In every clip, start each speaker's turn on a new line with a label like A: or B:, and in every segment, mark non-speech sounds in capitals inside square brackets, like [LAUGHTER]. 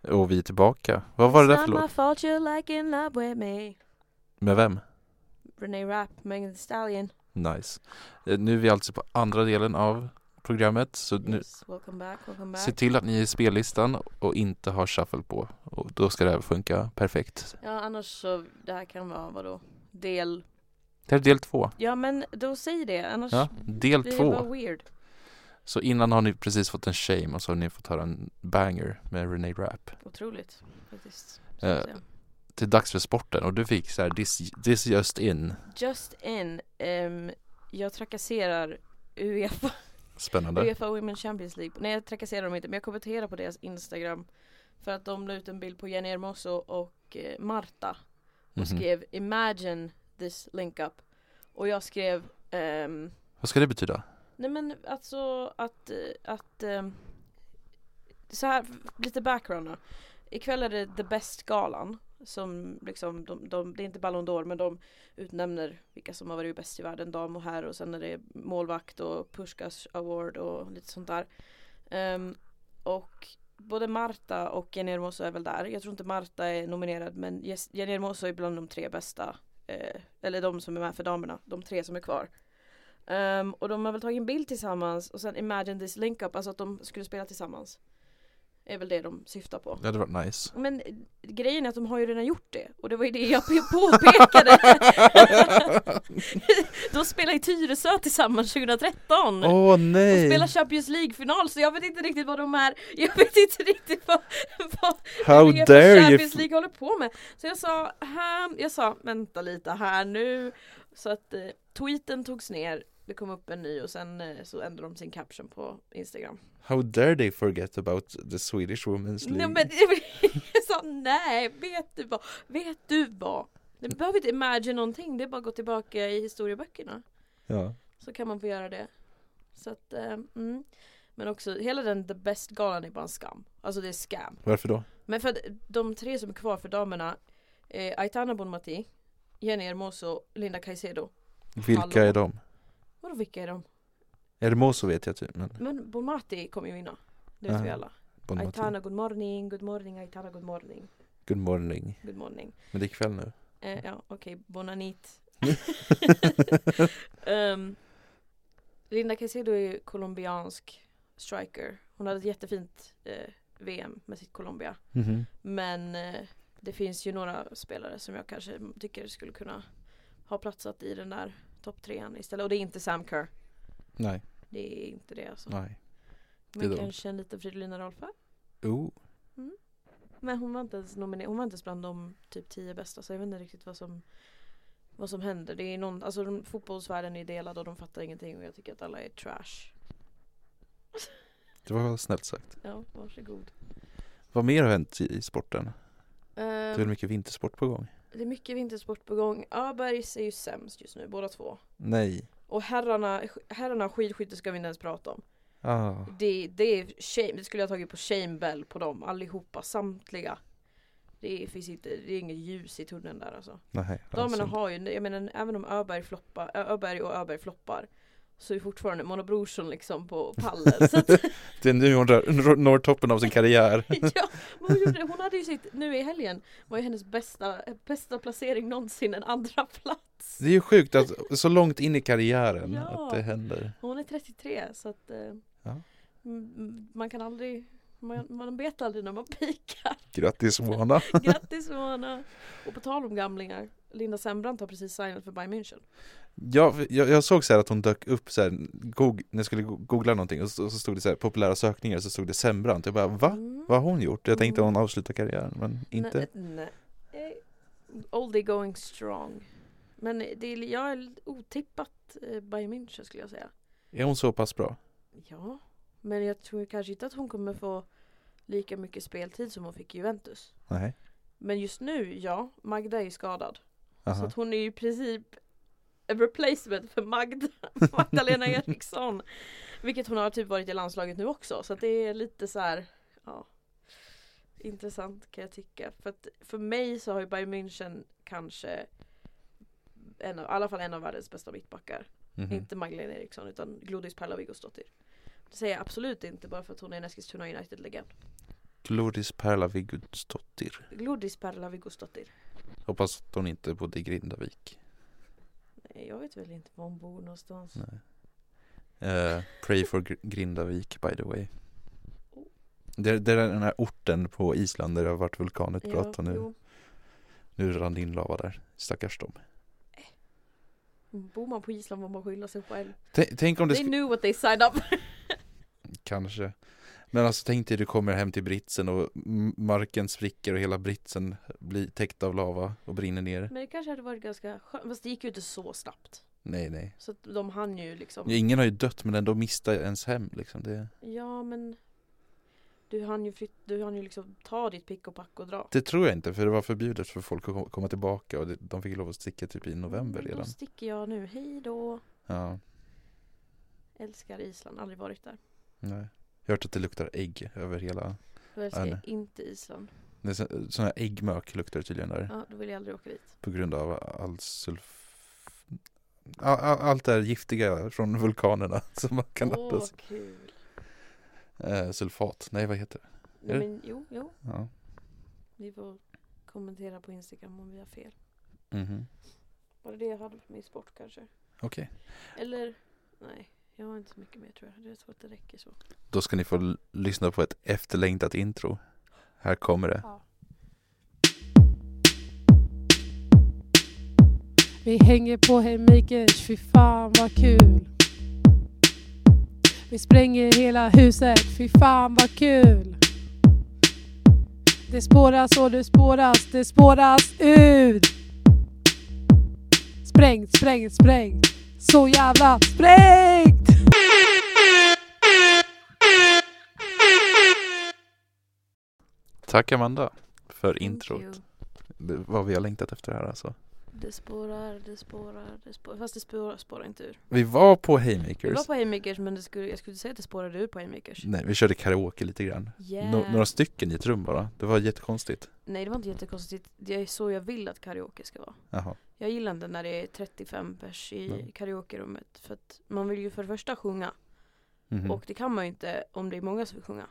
A: Och vi är tillbaka. Vad var det där för
B: It's not my
A: låt?
B: fault you're liking up with me
A: Med vem?
B: Renee Rapp, Megan Thee Stallion
A: Nice. Eh, Nu är vi alltså på andra delen av programmet. Så nu,
B: Yes, welcome back, welcome
A: se
B: back
A: till att ni är i spellistan och inte har shuffle på. Och då ska det här funka perfekt.
B: Ja annars så, det här kan vara vadå? Del
A: Det här är del två.
B: Ja men då säg det, annars
A: Ja, del
B: blir det bara
A: två.
B: weird
A: Så innan har ni precis fått en shame och så har ni fått höra en banger med Renee Rapp.
B: Otroligt faktiskt så
A: Eh,
B: att säga.
A: Det är dags för sporten och du fick så här this, this just in.
B: Just in, ehm, jag trakasserar Uefa
A: Spännande.
B: Uefa Women's Champions League. Nej jag trakasserar dem inte men jag kommenterar på deras Instagram. För att de la ut en bild på Jenny Hermoso och eh, Marta. Och
A: Mhm.
B: skrev Imagine this link up. Och jag skrev ehm,
A: Vad ska det betyda?
B: Nej men alltså att, eh, att ehm, så här, lite background då. Ikväll är det The Best-galan som liksom, de, de, det är inte Ballon d'Or men de utnämner vilka som har varit bäst i världen, dam och herr och sen är det målvakt och Pushkas Award och lite sånt där. Ehm, och både Marta och Jenny Hermoso är väl där. Jag tror inte Marta är nominerad men Jes- Jenny Hermoso är bland de tre bästa. Eh, eller de som är med för damerna, de tre som är kvar. Ehm, och de har väl tagit en bild tillsammans och sen Imagine this link up, alltså att de skulle spela tillsammans. Är väl det de syftar på.
A: Det hade varit
B: [LAUGHS]
A: nice.
B: Men eh, grejen är att de har ju redan gjort det och det var ju det jag p-
A: [LAUGHS]
B: påpekade. de spelar i Tyresö tillsammans 2013.
A: Åh
B: De spelar
A: nej!
B: Champions League-final så jag vet inte riktigt vad de är, jag vet inte riktigt vad, vad
A: How
B: UEFA
A: dare you!
B: Champions League håller på med. Så jag sa, här, jag sa vänta lite här nu. Så att eh, tweeten togs ner, det kom upp en ny och sen eh, så ändrade de sin caption på Instagram.
A: How dare they forget about the Swedish Women's League?
B: Nej men jag sa nej, vet du vad, vet du vad. Det behöver inte imagine någonting, det är bara att gå tillbaka i historieböckerna.
A: Ja.
B: Så kan man få göra det. Så att, eh, mm. Men också, hela den The Best-galan är bara en skam. Alltså det är scam.
A: Varför då?
B: Men för att de tre som är kvar för damerna, eh, Aitana Bonmati, Jenny Hermoso, Linda Caicedo. Hallå.
A: Vilka är de?
B: Vadå vilka är de?
A: Hermoso vet jag typ, men
B: Men Bonmati kommer ju vinna. Det vet
A: Aha.
B: vi alla.
A: Bonmati.
B: Aitana good morning, good morning, Aitana good morning,
A: Good morning.
B: good morning.
A: Men det är kväll nu.
B: Eh, ja okej,
A: [LAUGHS]
B: bonanit. Ehm, Linda Caicedo är ju colombiansk striker. Hon hade ett jättefint eh, VM med sitt Colombia.
A: Mhm.
B: Men eh, det finns ju några spelare som jag kanske tycker skulle kunna ha platsat i den där topptrean istället. Och det är inte Sam Kerr.
A: Nej,
B: Det är inte det alltså.
A: nej. det är
B: Men
A: de.
B: kanske en liten Fridolina Rolfö.
A: Oh.
B: Men hon var inte ens nominerad. Hon var inte ens bland de typ tio bästa. Så jag vet inte riktigt vad som vad som händer. Det är någon, alltså de, fotbollsvärlden är delad och de fattar ingenting och jag tycker att alla är trash.
A: Det var snällt sagt.
B: Ja, varsågod.
A: Vad mer har hänt i i sporten? Det är väl
B: Um,
A: mycket vintersport på gång?
B: det är mycket vintersport på gång. Öbergs är ju sämst just nu, båda två.
A: Nej.
B: Och herrarna, herrarna skidskytte ska vi inte ens prata om.
A: Ah.
B: Det, det är shame, det skulle jag tagit på shame bell på dem allihopa, samtliga. Det finns inte, det är inget ljus i tunneln där alltså.
A: Nej.
B: Damerna
A: alltså.
B: har ju, jag menar även om Öberg, floppar, Ö- Öberg och Öberg floppar så är fortfarande Mona Brorsson liksom på
A: [LAUGHS]
B: pallen. så att, [LAUGHS]
A: Det är nu hon rör- når toppen av sin karriär.
B: ja, men hon, gjorde, hon hade ju sitt, nu i helgen var ju hennes bästa, bästa placering någonsin en andra plats.
A: Det är ju sjukt att så långt in i karriären
B: Ja.
A: att det händer.
B: Hon är 33 så att eh,
A: Ja. Mm.
B: m- man kan aldrig, man, man vet aldrig
A: [LAUGHS]
B: när man pikar.
A: Grattis Mona.
B: Grattis Mona! Och på tal om gamlingar, Linda Sembrant har precis signat för Bayern München.
A: Jag, jag, jag såg så här att hon dök upp så här, goog, när jag skulle go- googla någonting och så, så stod det så här populära sökningar så stod det Sembrant. Jag bara va?
B: Mm.
A: Vad har hon gjort? Jag tänkte hon avslutar karriären men inte.
B: Nej, nej. Eh, Oldie going strong. Men det är, jag är otippat eh, Bayern München skulle jag säga.
A: Är hon så pass bra?
B: Ja, men jag tror kanske inte att hon kommer få lika mycket speltid som hon fick i Juventus.
A: Nej.
B: Men just nu, ja, Magda är ju skadad. Så
A: Aha.
B: att hon är ju i princip en replacement för Magda, [LAUGHS] Magdalena Eriksson. Vilket hon har typ varit i landslaget nu också. Så att det är lite så här, ja. Intressant kan jag tycka. För att för mig så har ju Bayern München kanske en av, i alla fall en av världens bästa mittbackar.
A: Mhm.
B: Inte Magdalena Eriksson utan Glodis Perla Viggosdottir. Det säger jag absolut inte bara för att hon är en Eskilstuna United-legend.
A: Glodis Perla Viggudsdottir.
B: Glodis Perla Viggosdottir.
A: Hoppas att hon inte bodde i Grindavik.
B: Nej, jag vet väl inte var hon bor någonstans.
A: Nej. Eh, pray for Gr- Grindavik by the way. Det, det är den här orten på Island där det har varit vulkanutbrott och nu,
B: jo.
A: nu rann det in lava där. Stackars dem.
B: Bor man på Island får man skylla sig själv.
A: Tänk, tänk om det
B: They
A: skulle,
B: knew what they
A: [LAUGHS]
B: signed up.
A: kanske. Men alltså tänk dig du kommer hem till britsen och m- marken spricker och hela britsen blir täckt av lava och brinner ner.
B: Men det kanske hade varit ganska skönt. Fast det gick ju inte så snabbt.
A: Nej nej.
B: Så att de hann ju liksom.
A: Ja, Ingen har ju dött men ändå mista ens hem liksom. Det,
B: Ja men. Du hann ju, flyt, du hann ju liksom ta ditt pick och pack och dra.
A: det tror jag inte för det var förbjudet för folk att kom- komma tillbaka och det, de fick lov att sticka typ i november
B: Men Då
A: redan.
B: sticker jag nu. Hej då.
A: Ja.
B: Älskar Island. Aldrig varit där.
A: Nej. Jag har hört att det luktar ägg över hela.
B: Då älskar
A: nej.
B: jag inte Island.
A: Det är så- sån här äggmök luktar det tydligen där.
B: Ja, då vill jag aldrig åka dit.
A: På grund av all sulf... All, all, allt det här giftiga från vulkanerna [LAUGHS] som man kan
B: Åh,
A: andas.
B: vad kul.
A: Eh, sulfat, nej vad heter det?
B: Nej,
A: Är det-
B: men jo, jo.
A: Ja.
B: Ni får kommentera på Instagram om vi har fel.
A: Mhm.
B: Var det det jag hade på min sport kanske?
A: Okej.
B: Eller? Nej, jag har inte så mycket mer tror jag. Jag tror att det räcker så.
A: Då ska ni få l- lyssna på ett efterlängtat intro. Här kommer det.
C: Vi hänger på Hemmakers, fy fan vad kul. Vi spränger hela huset, fy fan vad kul. Det spåras och det spåras, det spåras ut. Sprängt, sprängt, sprängt. Så jävla sprängt!
A: Tack Amanda för
B: Thank
A: introt.
B: you.
A: Det var vi har längtat efter det här alltså.
B: Det spårar, det spårar, det spårar. Fast det spårar, spårar inte ur.
A: Vi var på
B: Vi
A: Haymakers.
B: var på Haymakers men det skulle, jag skulle inte säga att det spårade ur på Haymakers.
A: Nej, vi körde karaoke lite grann.
B: Yeah.
A: Nå- några stycken i ett rum bara. Det var jättekonstigt.
B: Nej, det var inte jättekonstigt. Det är så jag vill att karaoke ska vara.
A: Jaha.
B: Jag gillar inte när det är 35 pers i
A: Nej.
B: karaokerummet. För att man vill ju för det första sjunga.
A: Mhm.
B: Och det kan man ju inte om det är många som vill sjunga.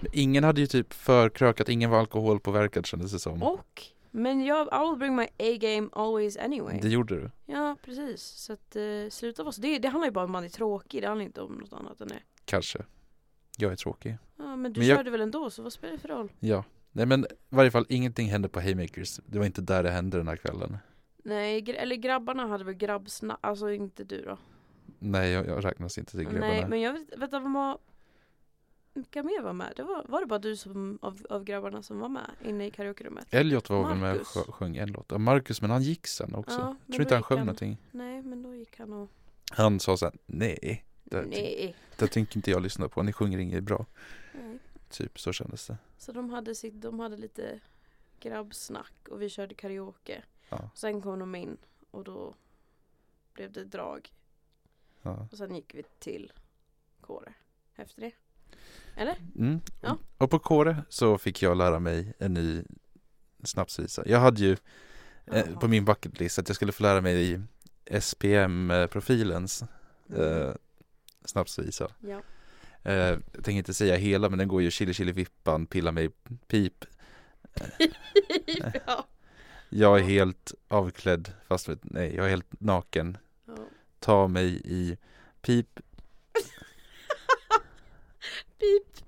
A: Men Ingen hade ju typ förkrökat, ingen var alkoholpåverkad kändes det som.
B: Och, men jag, I will bring my A-game always anyway.
A: Det gjorde du.
B: Ja, precis. Så att eh, sluta vara så. Det, det handlar ju bara om att man är tråkig. Det handlar inte om något annat än det.
A: Kanske. Jag är tråkig.
B: Ja, men du
A: Men jag-
B: körde väl ändå, så vad spelar det för roll?
A: Ja. Nej men i varje fall ingenting hände på Haymakers. Det var inte där det hände den här kvällen.
B: Nej, gr- eller grabbarna hade väl grabbsna... Alltså inte du då.
A: Nej, jag, jag räknas inte till grabbarna.
B: Nej, men jag vet vänta, vad var... Vilka mer var med? Det var, var det bara du som, av, av grabbarna som var med inne i karaokerummet?
A: Elliot var väl med och
B: Marcus.
A: sjö- sjöng en låt. Ja, Marcus, men han gick sen också.
B: Ja, men
A: Tror
B: då
A: inte han
B: gick
A: sjöng
B: han.
A: någonting.
B: Nej, men då gick han och...
A: Han sa sen, nej, det, nej.
B: Nej.
A: det tänker inte jag lyssna på. Ni sjunger inget bra.
B: Nej.
A: Typ så kändes det.
B: Så de hade, sitt, de hade lite grabbsnack och vi körde karaoke.
A: Ja.
B: Sen kom de in och då blev det drag.
A: Ja.
B: Och sen gick vi till Kåre efter det.
A: Mm.
B: Ja.
A: Och på Kåre så fick jag lära mig en ny snapsvisa. Jag hade ju eh,
B: Jaha.
A: på min bucket list att jag skulle få lära mig i SPM-profilens
B: Mm.
A: eh, snapsvisa.
B: Ja. [LAUGHS]
A: Eh, jag tänker inte säga hela men den går ju chili chili vippan, pilla mig pip.
B: ja.
A: Jag är helt avklädd, fast med, nej jag är helt naken.
B: ja. [LAUGHS]
A: Ta mig i pip
B: Pip.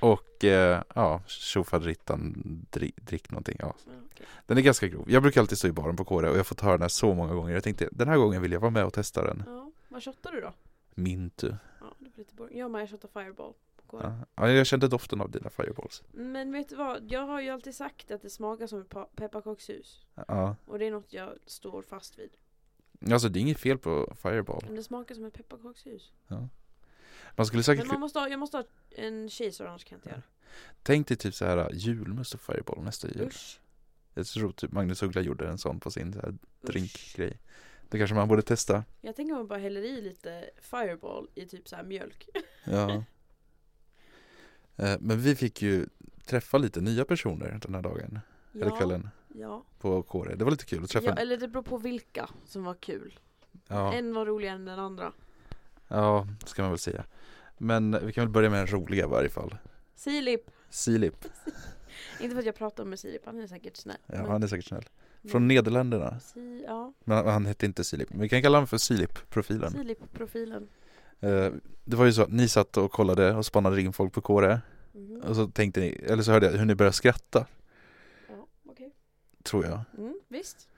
A: och eh, ja, tjofaderittan, drick, drick någonting. Ja,
B: Ja, Mm, okej.
A: Den är ganska grov. Jag brukar alltid stå i baren på Kåre och jag har fått höra den här så många gånger. Jag tänkte den här gången vill jag vara med och testa den.
B: ja. Vad shottar du då?
A: Mintu.
B: Ja, det blir lite boring. Jag med, jag shottar fireball. på Kåre.
A: Ja. Ja, jag kände doften av dina fireballs.
B: Men vet du vad? Jag har ju alltid sagt att det smakar som ett pa- pepparkakshus.
A: Ja.
B: Och det är något jag står fast vid.
A: Alltså det är inget fel på fireball.
B: Men det smakar som ett pepparkakshus.
A: Man skulle säkert
B: Men man måste ha, jag måste ha en cheese annars kan jag inte göra.
A: tänkt dig typ så här julmust och fireball nästa jul.
B: Usch.
A: Jag tror typ Magnus Uggla gjorde en sån på sin så här
B: Usch.
A: drinkgrej. Det kanske man borde testa.
B: Jag tänker man bara häller i lite fireball i typ så här mjölk. [LAUGHS]
A: Ja. [LAUGHS] Eh, Men vi fick ju träffa lite nya personer den här dagen, eller kvällen,
B: ja.
A: på Kåre. Det var lite kul att träffa.
B: ja. Eller det beror på vilka som var kul.
A: Ja.
B: En var roligare än den andra.
A: Ja, ska man väl säga. Men vi kan väl börja med den roliga i varje fall.
B: Silip.
A: Silip.
B: Inte för att jag pratar med Sirip, han är säkert snäll.
A: Ja,
B: men-
A: han är säkert snäll.
B: men-
A: Från Nederländerna.
B: Si- Ja,
A: Men han, han hette inte Silip. Men vi kan kalla honom för Silip-profilen.
B: Mm. Sirip-profilen.
A: Eh, det var ju så att ni satt och kollade och spannade in folk på KRE.
B: Mhm.
A: Och så tänkte ni, eller så hörde jag hur ni började skratta.
B: Ja, okej.
A: Tror jag.
B: Mm, visst.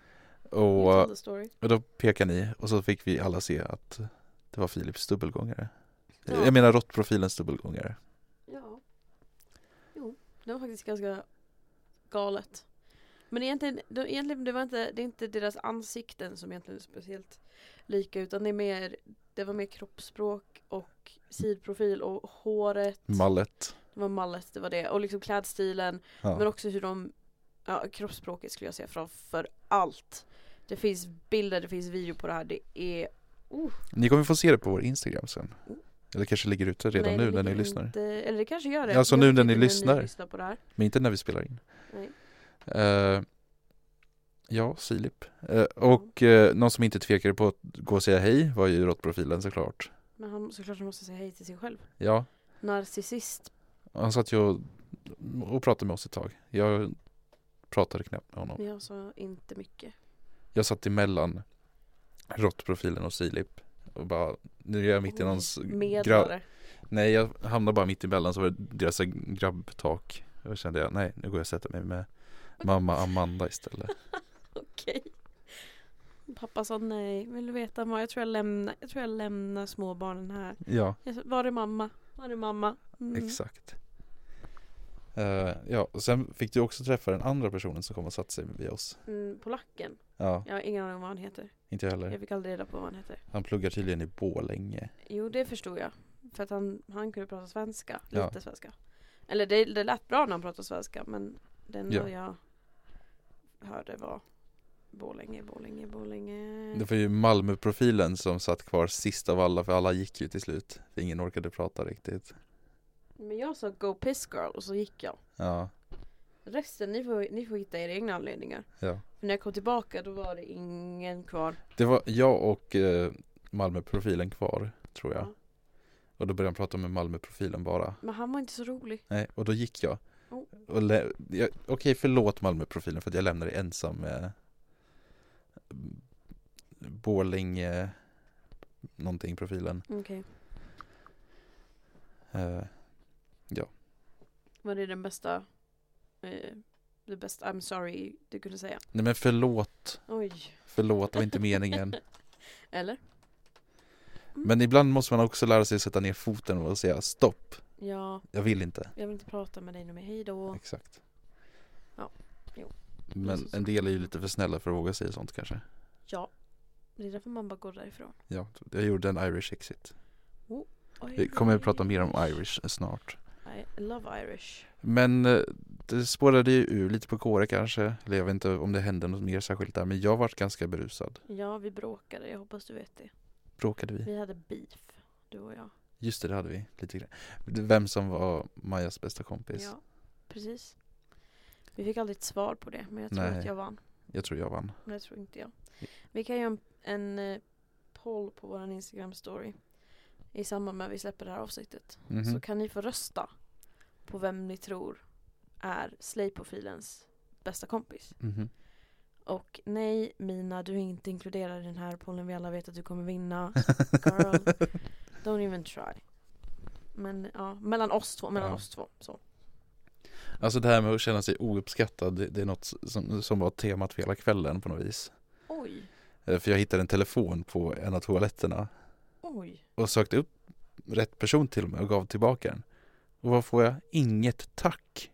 B: You
A: Och,
B: tell the story.
A: och då pekade ni och så fick vi alla se att det var Filips dubbelgångare.
B: Ja.
A: Jag menar råttprofilens dubbelgångare.
B: Ja. Jo, det var faktiskt ganska galet. Men egentligen, det, egentligen det, var inte, det är inte deras ansikten som egentligen är speciellt lika utan det är mer det var mer kroppsspråk och sidprofil och håret.
A: Mallet.
B: det var mallet, det var det. Och liksom klädstilen.
A: Ja.
B: Men också hur de, ja, kroppsspråket skulle jag säga framför allt. Det finns bilder, det finns video på det här. Det är, oh,
A: Ni kommer få se det på vår Instagram sen. Eller kanske ligger ute redan
B: nej, det
A: nu när ni
B: ligger
A: lyssnar.
B: Inte, eller det kanske gör det.
A: Alltså
B: Jag
A: nu
B: vet
A: när
B: inte
A: ni lyssnar.
B: lyssnar på det här.
A: Men inte när vi spelar in.
B: Nej.
A: Eh, ja, Silip. Eh, och eh, någon som inte tvekade på att gå och säga hej var ju råttprofilen såklart.
B: Men han såklart han måste säga hej till sig själv.
A: Ja,
B: Narcissist.
A: han satt ju och, och pratade med oss ett tag. Jag pratade knappt med honom.
B: Men jag sa inte mycket.
A: Jag satt emellan råttprofilen och Silip och bara nu är jag mitt i någons grabb.
B: Mm, Medlare.
A: Nej, jag hamnade bara mitt emellan så var det deras grabbtak. Och då kände jag nej, nu går jag och sätter mig med mamma Amanda
B: [LAUGHS]
A: istället.
B: Okej. Pappa sa nej. Vill du veta vad? Jag tror jag lämnar, jag tror jag lämnar småbarnen här.
A: Ja.
B: Jag sa, var är mamma? Var är mamma? Mm.
A: Exakt. Eh, ja, och sen fick du också träffa den andra personen som kom och satte sig vid oss.
B: Mm, polacken.
A: Ja,
B: Jag har ingen aning om vad han heter.
A: inte jag heller.
B: Jag fick aldrig reda på vad han heter.
A: Han pluggar tydligen i Borlänge.
B: Jo, det förstod jag. För att han, han kunde prata svenska.
A: Ja.
B: Lite svenska. Eller det, det lät bra när han pratade svenska, men det enda
A: Ja.
B: jag hörde var Borlänge, Borlänge, Borlänge.
A: Det var ju Malmöprofilen som satt kvar sist av alla för alla gick ju till slut. För ingen orkade prata riktigt.
B: Men jag sa Go Piss Girl och så gick jag.
A: Ja,
B: Resten, ni får, ni får hitta era egna anledningar.
A: ja.
B: För när jag kom tillbaka då var det ingen kvar.
A: Det var jag och eh, Malmöprofilen kvar, tror jag.
B: Ja.
A: Och då började han prata med Malmöprofilen bara.
B: Men han var inte så rolig.
A: Nej, och då gick jag.
B: Oh.
A: Och lä- jag Okej, förlåt Malmöprofilen för att jag lämnade dig ensam med mm, Borlänge någonting profilen.
B: Okej.
A: Eh,
B: Var det den bästa, eh, det bästa I'm sorry du kunde säga?
A: nej men förlåt,
B: Oj.
A: förlåt, det var inte
B: [LAUGHS]
A: meningen.
B: Eller?
A: Men ibland måste man också lära sig att sätta ner foten och säga stopp,
B: Ja,
A: jag vill inte.
B: jag vill inte prata med dig nu mer. Hej då.
A: Exakt.
B: Ja, jo.
A: Men en del är ju lite för snälla för att våga säga sånt kanske.
B: Ja. Det är därför man bara går därifrån.
A: Ja, jag gjorde en Irish exit.
B: Oj,
A: Vi kommer att prata mer om Irish snart.
B: I love Irish.
A: Men eh, det spårade ju ur lite på kåret kanske. Eller jag vet inte om det hände något mer särskilt där. Men jag vart ganska berusad.
B: Ja, vi bråkade. Jag hoppas du vet det.
A: Bråkade vi?
B: Vi hade beef, du och jag.
A: Just det, det hade vi. Lite grann. Vem som var Majas bästa kompis.
B: Ja, precis. Vi fick aldrig ett svar på det, men jag tror
A: Nej.
B: att jag vann.
A: Jag tror jag vann.
B: Men det tror inte jag.
A: Ja.
B: Vi kan göra en, en eh, poll på vår Instagram-story i samband med att vi släpper det här avsnittet.
A: Mhm.
B: Så kan ni få rösta på vem ni tror är Slay-profilens bästa kompis.
A: Mhm.
B: Och nej Mina, du är inte inkluderad i den här pollen. Vi alla vet att du
A: [LAUGHS]
B: kommer vinna. Girl, don't even try. Men ja, mellan oss två, mellan
A: Ja.
B: oss två. Så.
A: Alltså det här med att känna sig ouppskattad. Det, det är något som, som var temat för hela kvällen på något vis.
B: Oj,
A: Eh, För jag hittade en telefon på en av toaletterna.
B: oj.
A: Och sökte upp rätt person till mig och gav tillbaka den. Och vad får jag? Inget tack.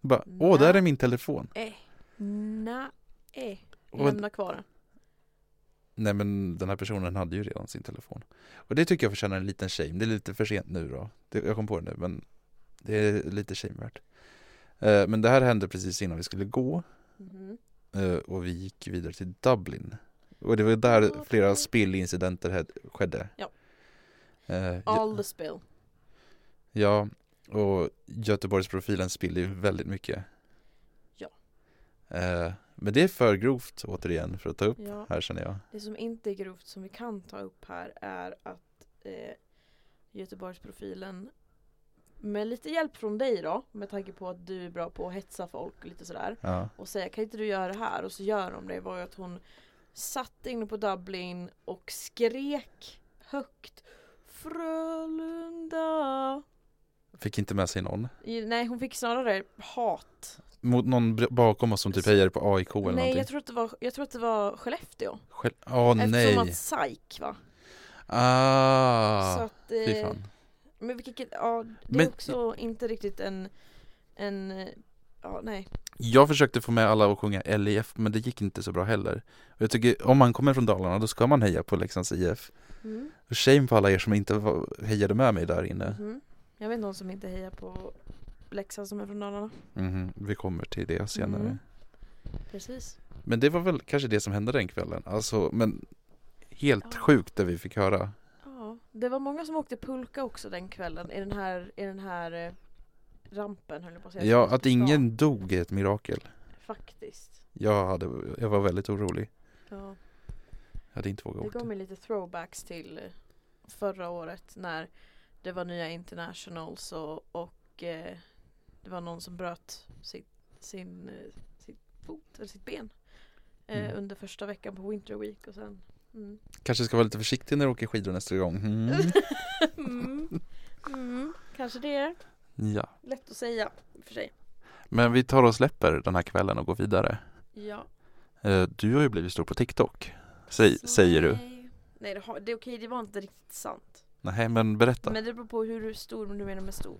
A: Bara, åh, där är min telefon.
B: Eh. Nej.
A: Och
B: eh. Lämna kvar den.
A: Nej men den här personen hade ju redan sin telefon. Och det tycker jag förtjänar en liten shame. Det är lite för sent nu då. Det, jag kom på det nu men det är lite shamevärt. Eh, men det här hände precis innan vi skulle gå
B: Mhm.
A: eh, och vi gick vidare till Dublin. Och det var där
B: Ja,
A: flera
B: det-
A: spillincidenter hed- skedde.
B: Ja.
A: Eh,
B: All the spill.
A: ja, och Göteborgsprofilen spiller ju väldigt mycket.
B: Ja.
A: Eh, men det är för grovt återigen för att ta upp
B: Ja.
A: här känner jag.
B: Det som inte är grovt som vi kan ta upp här är att eh, Göteborgsprofilen Med lite hjälp från dig då, med tanke på att du är bra på att hetsa folk och lite sådär.
A: Ja.
B: och säga kan inte du göra det här? Och så gör de det var ju att hon satt inne på Dublin och skrek högt Frölunda
A: Fick inte med sig någon.
B: I- Nej hon fick snarare hat
A: Mot någon br- bakom oss som typ hejade på AIK eller
B: Nej
A: någonting.
B: jag tror, att det var, jag tror att det var Skellefteå
A: Själv... Åh nej.
B: Eftersom att SAIK va? så
A: Ah,
B: att,
A: fy
B: eh,
A: fan.
B: men vilket, ja, det är
A: Men-
B: också inte riktigt en, en, eh, ja nej
A: Jag försökte få med alla att sjunga LIF men det gick inte så bra heller. Och jag tycker om man kommer från Dalarna då ska man heja på Leksands IF.
B: mm.
A: Och shame på alla er som inte var, hejade med mig där inne.
B: Mhm. Jag vet någon som inte hejar på Leksand som är från Dalarna
A: Mhm, Vi kommer till det senare.
B: Mm. Precis
A: Men det var väl kanske det som hände den kvällen. Alltså, men helt
B: Ja.
A: sjukt det vi fick höra.
B: Ja, det var många som åkte pulka också den kvällen i den här, i den här eh, rampen höll jag på att säga.
A: Ja,
B: Som
A: att
B: gick till stan.
A: ingen dog är ett mirakel.
B: Faktiskt.
A: Jag, hade, jag var väldigt orolig.
B: Ja,
A: Jag hade inte vågat
B: det
A: åka.
B: gav mig lite throwbacks till eh, förra året när det var nya internationals och, och eh, det var någon som bröt sin, sin, eh, sin fot eller sitt ben eh,
A: Mm.
B: under första veckan på Winter Week och sen mm.
A: Kanske ska vara lite försiktig när du åker skidor nästa gång.
B: [LAUGHS]
A: Mm.
B: mm. [LAUGHS] Mm. Kanske det är
A: Ja.
B: lätt att säga i och för sig.
A: Men vi tar och släpper den här kvällen och går vidare.
B: Ja.
A: Eh, Du har ju blivit stor på TikTok. Säg,
B: Så
A: säger du.
B: Alltså, Nej, nej det, har, det är okej, det var inte riktigt sant.
A: Nej, men berätta.
B: Men det beror på hur stor du menar med stor.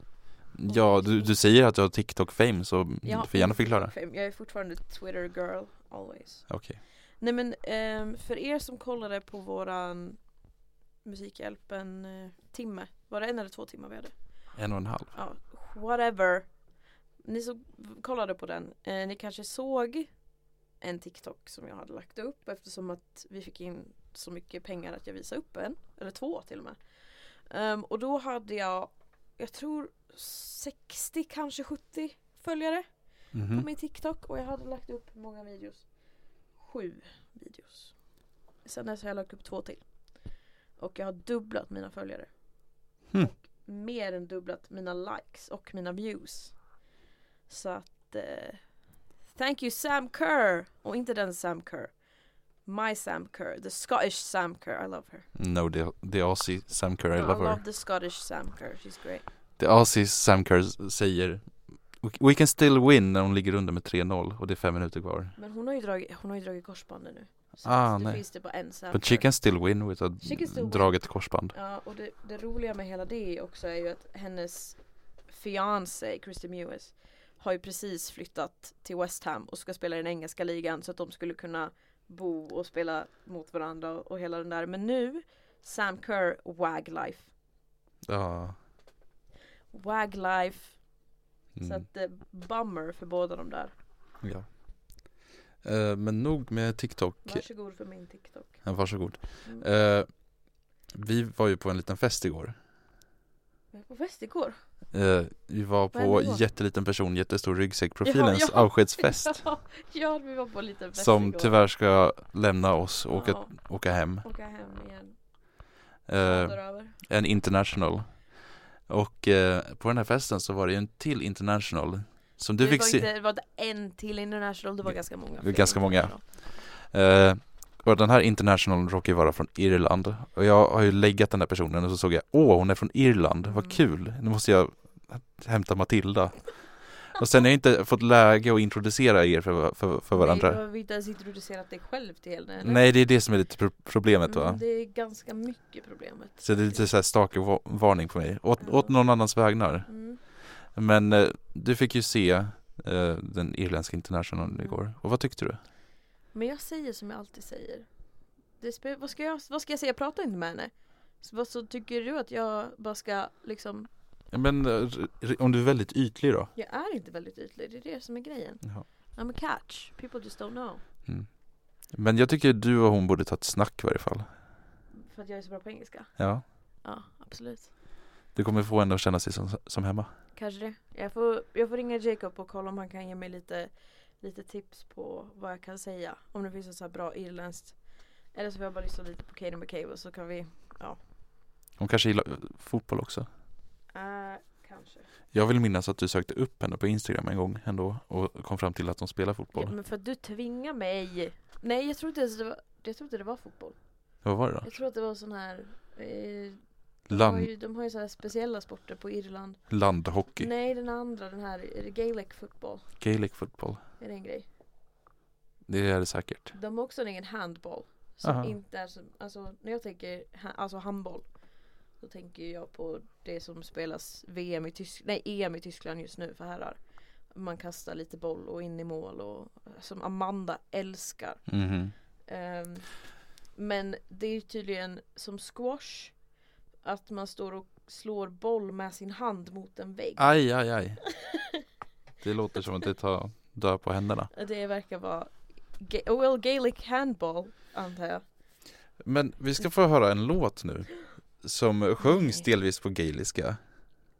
A: Ja, du, du säger att du har TikTok-fame så
B: Ja.
A: du får gärna förklara.
B: Jag är fortfarande Twitter girl, always.
A: Okej.
B: Nej men ehm, för er som kollade på våran Musikhjälpen-timme, var det en eller två timmar vi hade?
A: En och en halv.
B: Ja, whatever. Ni som kollade på den, eh, ni kanske såg en TikTok som jag hade lagt upp eftersom att vi fick in så mycket pengar att jag visade upp en, eller två till och med. Ehm, och då hade jag, jag tror 60 kanske 70 följare på
A: Mhm.
B: min TikTok och jag hade lagt upp hur många videos? Sju videos. Sen dess har jag lagt upp två till. Och jag har dubblat mina följare.
A: Hmm.
B: Och mer än dubblat mina likes och mina views. Så att eh, Thank you Sam Kerr! Och inte den Sam Kerr. My Sam Kerr, the Scottish Sam Kerr, I love her.
A: No, the, the Aussie Sam Kerr, I love her.
B: the Scottish Sam Kerr, she's great.
A: The Aussies Sam Kerr säger "We- We can still win när hon ligger under med 3-0 och det är fem minuter kvar.
B: Men hon har ju dragit, hon har ju dragit korsbandet nu. Så
A: Ah,
B: att det
A: nej.
B: finns det bara en Sam
A: But
B: Kerr.
A: she can still win with a
B: She can still win.
A: draget korsband.
B: Ja, och det, det roliga med hela det också är ju att hennes fiancé, Christy Mewes, har ju precis flyttat till West Ham och ska spela i den engelska ligan så att de skulle kunna bo och spela mot varandra och hela den där. Men nu, Sam Kerr, Waglife.
A: Ja.
B: Waglife. Så
A: Mm.
B: att det är bummer för båda de där.
A: ja. Eh, men nog med TikTok.
B: Varsågod för min TikTok.
A: Ja, Varsågod.
B: Mm.
A: Eh, vi var ju på en liten fest igår.
B: Jag var på
A: [LAUGHS]
B: fest igår.
A: Eh, vi var på
B: hände då?
A: jätteliten person, jättestor ryggsäck-profilens
B: Ja, ja.
A: avskedsfest.
B: [LAUGHS] Ja, ja, vi var på en liten fest
A: Som
B: igår.
A: tyvärr ska lämna oss och åka,
B: Ja,
A: åka hem.
B: åka hem igen.
A: Eh,
B: Söderöver.
A: en international. Och eh, på den här festen så var det ju en till international som du
B: det
A: fick
B: var
A: se.
B: Inte, det var inte en till international, det var ganska många.
A: Det var
B: fler
A: ganska många.
B: international.
A: Eh, och den här internationalen råkar ju vara från Irland. Och jag har ju läggat den här personen och så såg jag, åh hon är från Irland,
B: Mm.
A: vad kul, nu måste jag hämta Matilda. Och sen har jag inte fått läge att introducera er för, för, för
B: Nej, du
A: varandra.
B: har inte ens introducerat dig själv till henne eller?
A: Nej, det är det som är lite pro- problemet
B: Mm,
A: va.
B: Det är ganska mycket problemet.
A: Så det är lite såhär stalkervarning på mig, åt,
B: Ja.
A: åt någon annans vägnar.
B: Mm.
A: Men eh, du fick ju se eh, den irländska internationalen
B: Mm.
A: igår. Och vad tyckte du?
B: Men jag säger som jag alltid säger. Det spe- vad, ska jag, vad ska jag säga? Jag pratar inte med henne. Så, vad, så tycker du att jag bara ska liksom
A: Ja, Men eh, r- r- om du är väldigt ytlig då?
B: Jag är inte väldigt ytlig, det är det som är grejen.
A: Jaha.
B: I'm a catch, people just don't know.
A: Men jag tycker du och hon borde ta ett snack i varje fall.
B: För att jag är så bra på engelska.
A: Ja.
B: Ja, absolut.
A: Du kommer få henne att känna sig som, som hemma.
B: Kanske det. Jag får, jag får ringa Jacob och kolla om han kan ge mig lite, lite tips på vad jag kan säga. Om det finns något så här bra irländskt. Eller så får jag bara lyssna lite på Katie McCabe och så kan vi,
A: Hon kanske gillar eh, fotboll också.
B: eh, Kanske.
A: Jag vill minnas att du sökte upp henne på Instagram en gång ändå och kom fram till att hon spelar
B: Ja,
A: fotboll.
B: men för att du tvingar mig. Nej, jag tror inte ens det var, jag tror inte det var fotboll.
A: Vad var det då?
B: Jag tror att det var sån här eh, de, har
A: Land,
B: ju, de har ju så här speciella sporter på Irland.
A: landhockey,
B: Nej, den andra, den här är det Gaelic football.
A: Gaelic fotboll.
B: Är det en grej?
A: Det är det säkert.
B: De har också en egen handboll. Som
A: Aha.
B: inte är som, alltså när jag tänker ha, alltså handboll. Då tänker jag på det som spelas VM i Tyskland, nej EM i Tyskland just nu för herrar. Man kastar lite boll och in i mål och som Amanda älskar.
A: Mhm.
B: Ehm, men det är ju tydligen som squash. Att man står och slår boll med sin hand mot en vägg.
A: Aj, aj, aj. Det låter som att det tar död på händerna.
B: Det verkar vara ga- well, Gaelic handball antar jag.
A: Men vi ska få höra en låt nu som sjungs
B: Nej.
A: delvis på gaeliska.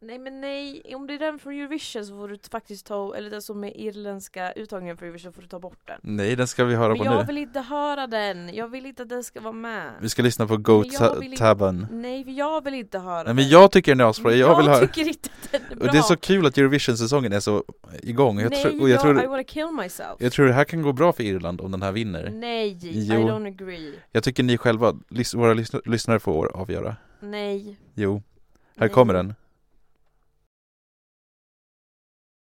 B: Nej men nej, om det är den från Eurovision så får du t- faktiskt ta, eller den som är irländska uttagningen från Eurovision får du ta bort den.
A: Nej, den ska vi höra
B: Men
A: på
B: jag
A: nu.
B: vill inte höra den, jag vill inte att den ska vara med.
A: Vi ska lyssna på Goat
B: Men jag vill
A: Ta-
B: inte-
A: Taban.
B: Nej för jag vill inte höra
A: Nej,
B: den.
A: men jag tycker den är asbra. Jag vill höra.
B: tycker inte att den är bra.
A: Och det är så kul att Eurovision-säsongen är så igång. Jag
B: nej,
A: tror, och jag,
B: I
A: tror,
B: wanna kill myself.
A: jag tror det här kan gå bra för Irland om den här vinner.
B: Nej,
A: Jo.
B: I don't agree.
A: Jag tycker ni själva, lys- våra lys- lyssnare får avgöra.
B: Nej.
A: Jo, här
B: nej. Mm.
A: kommer den.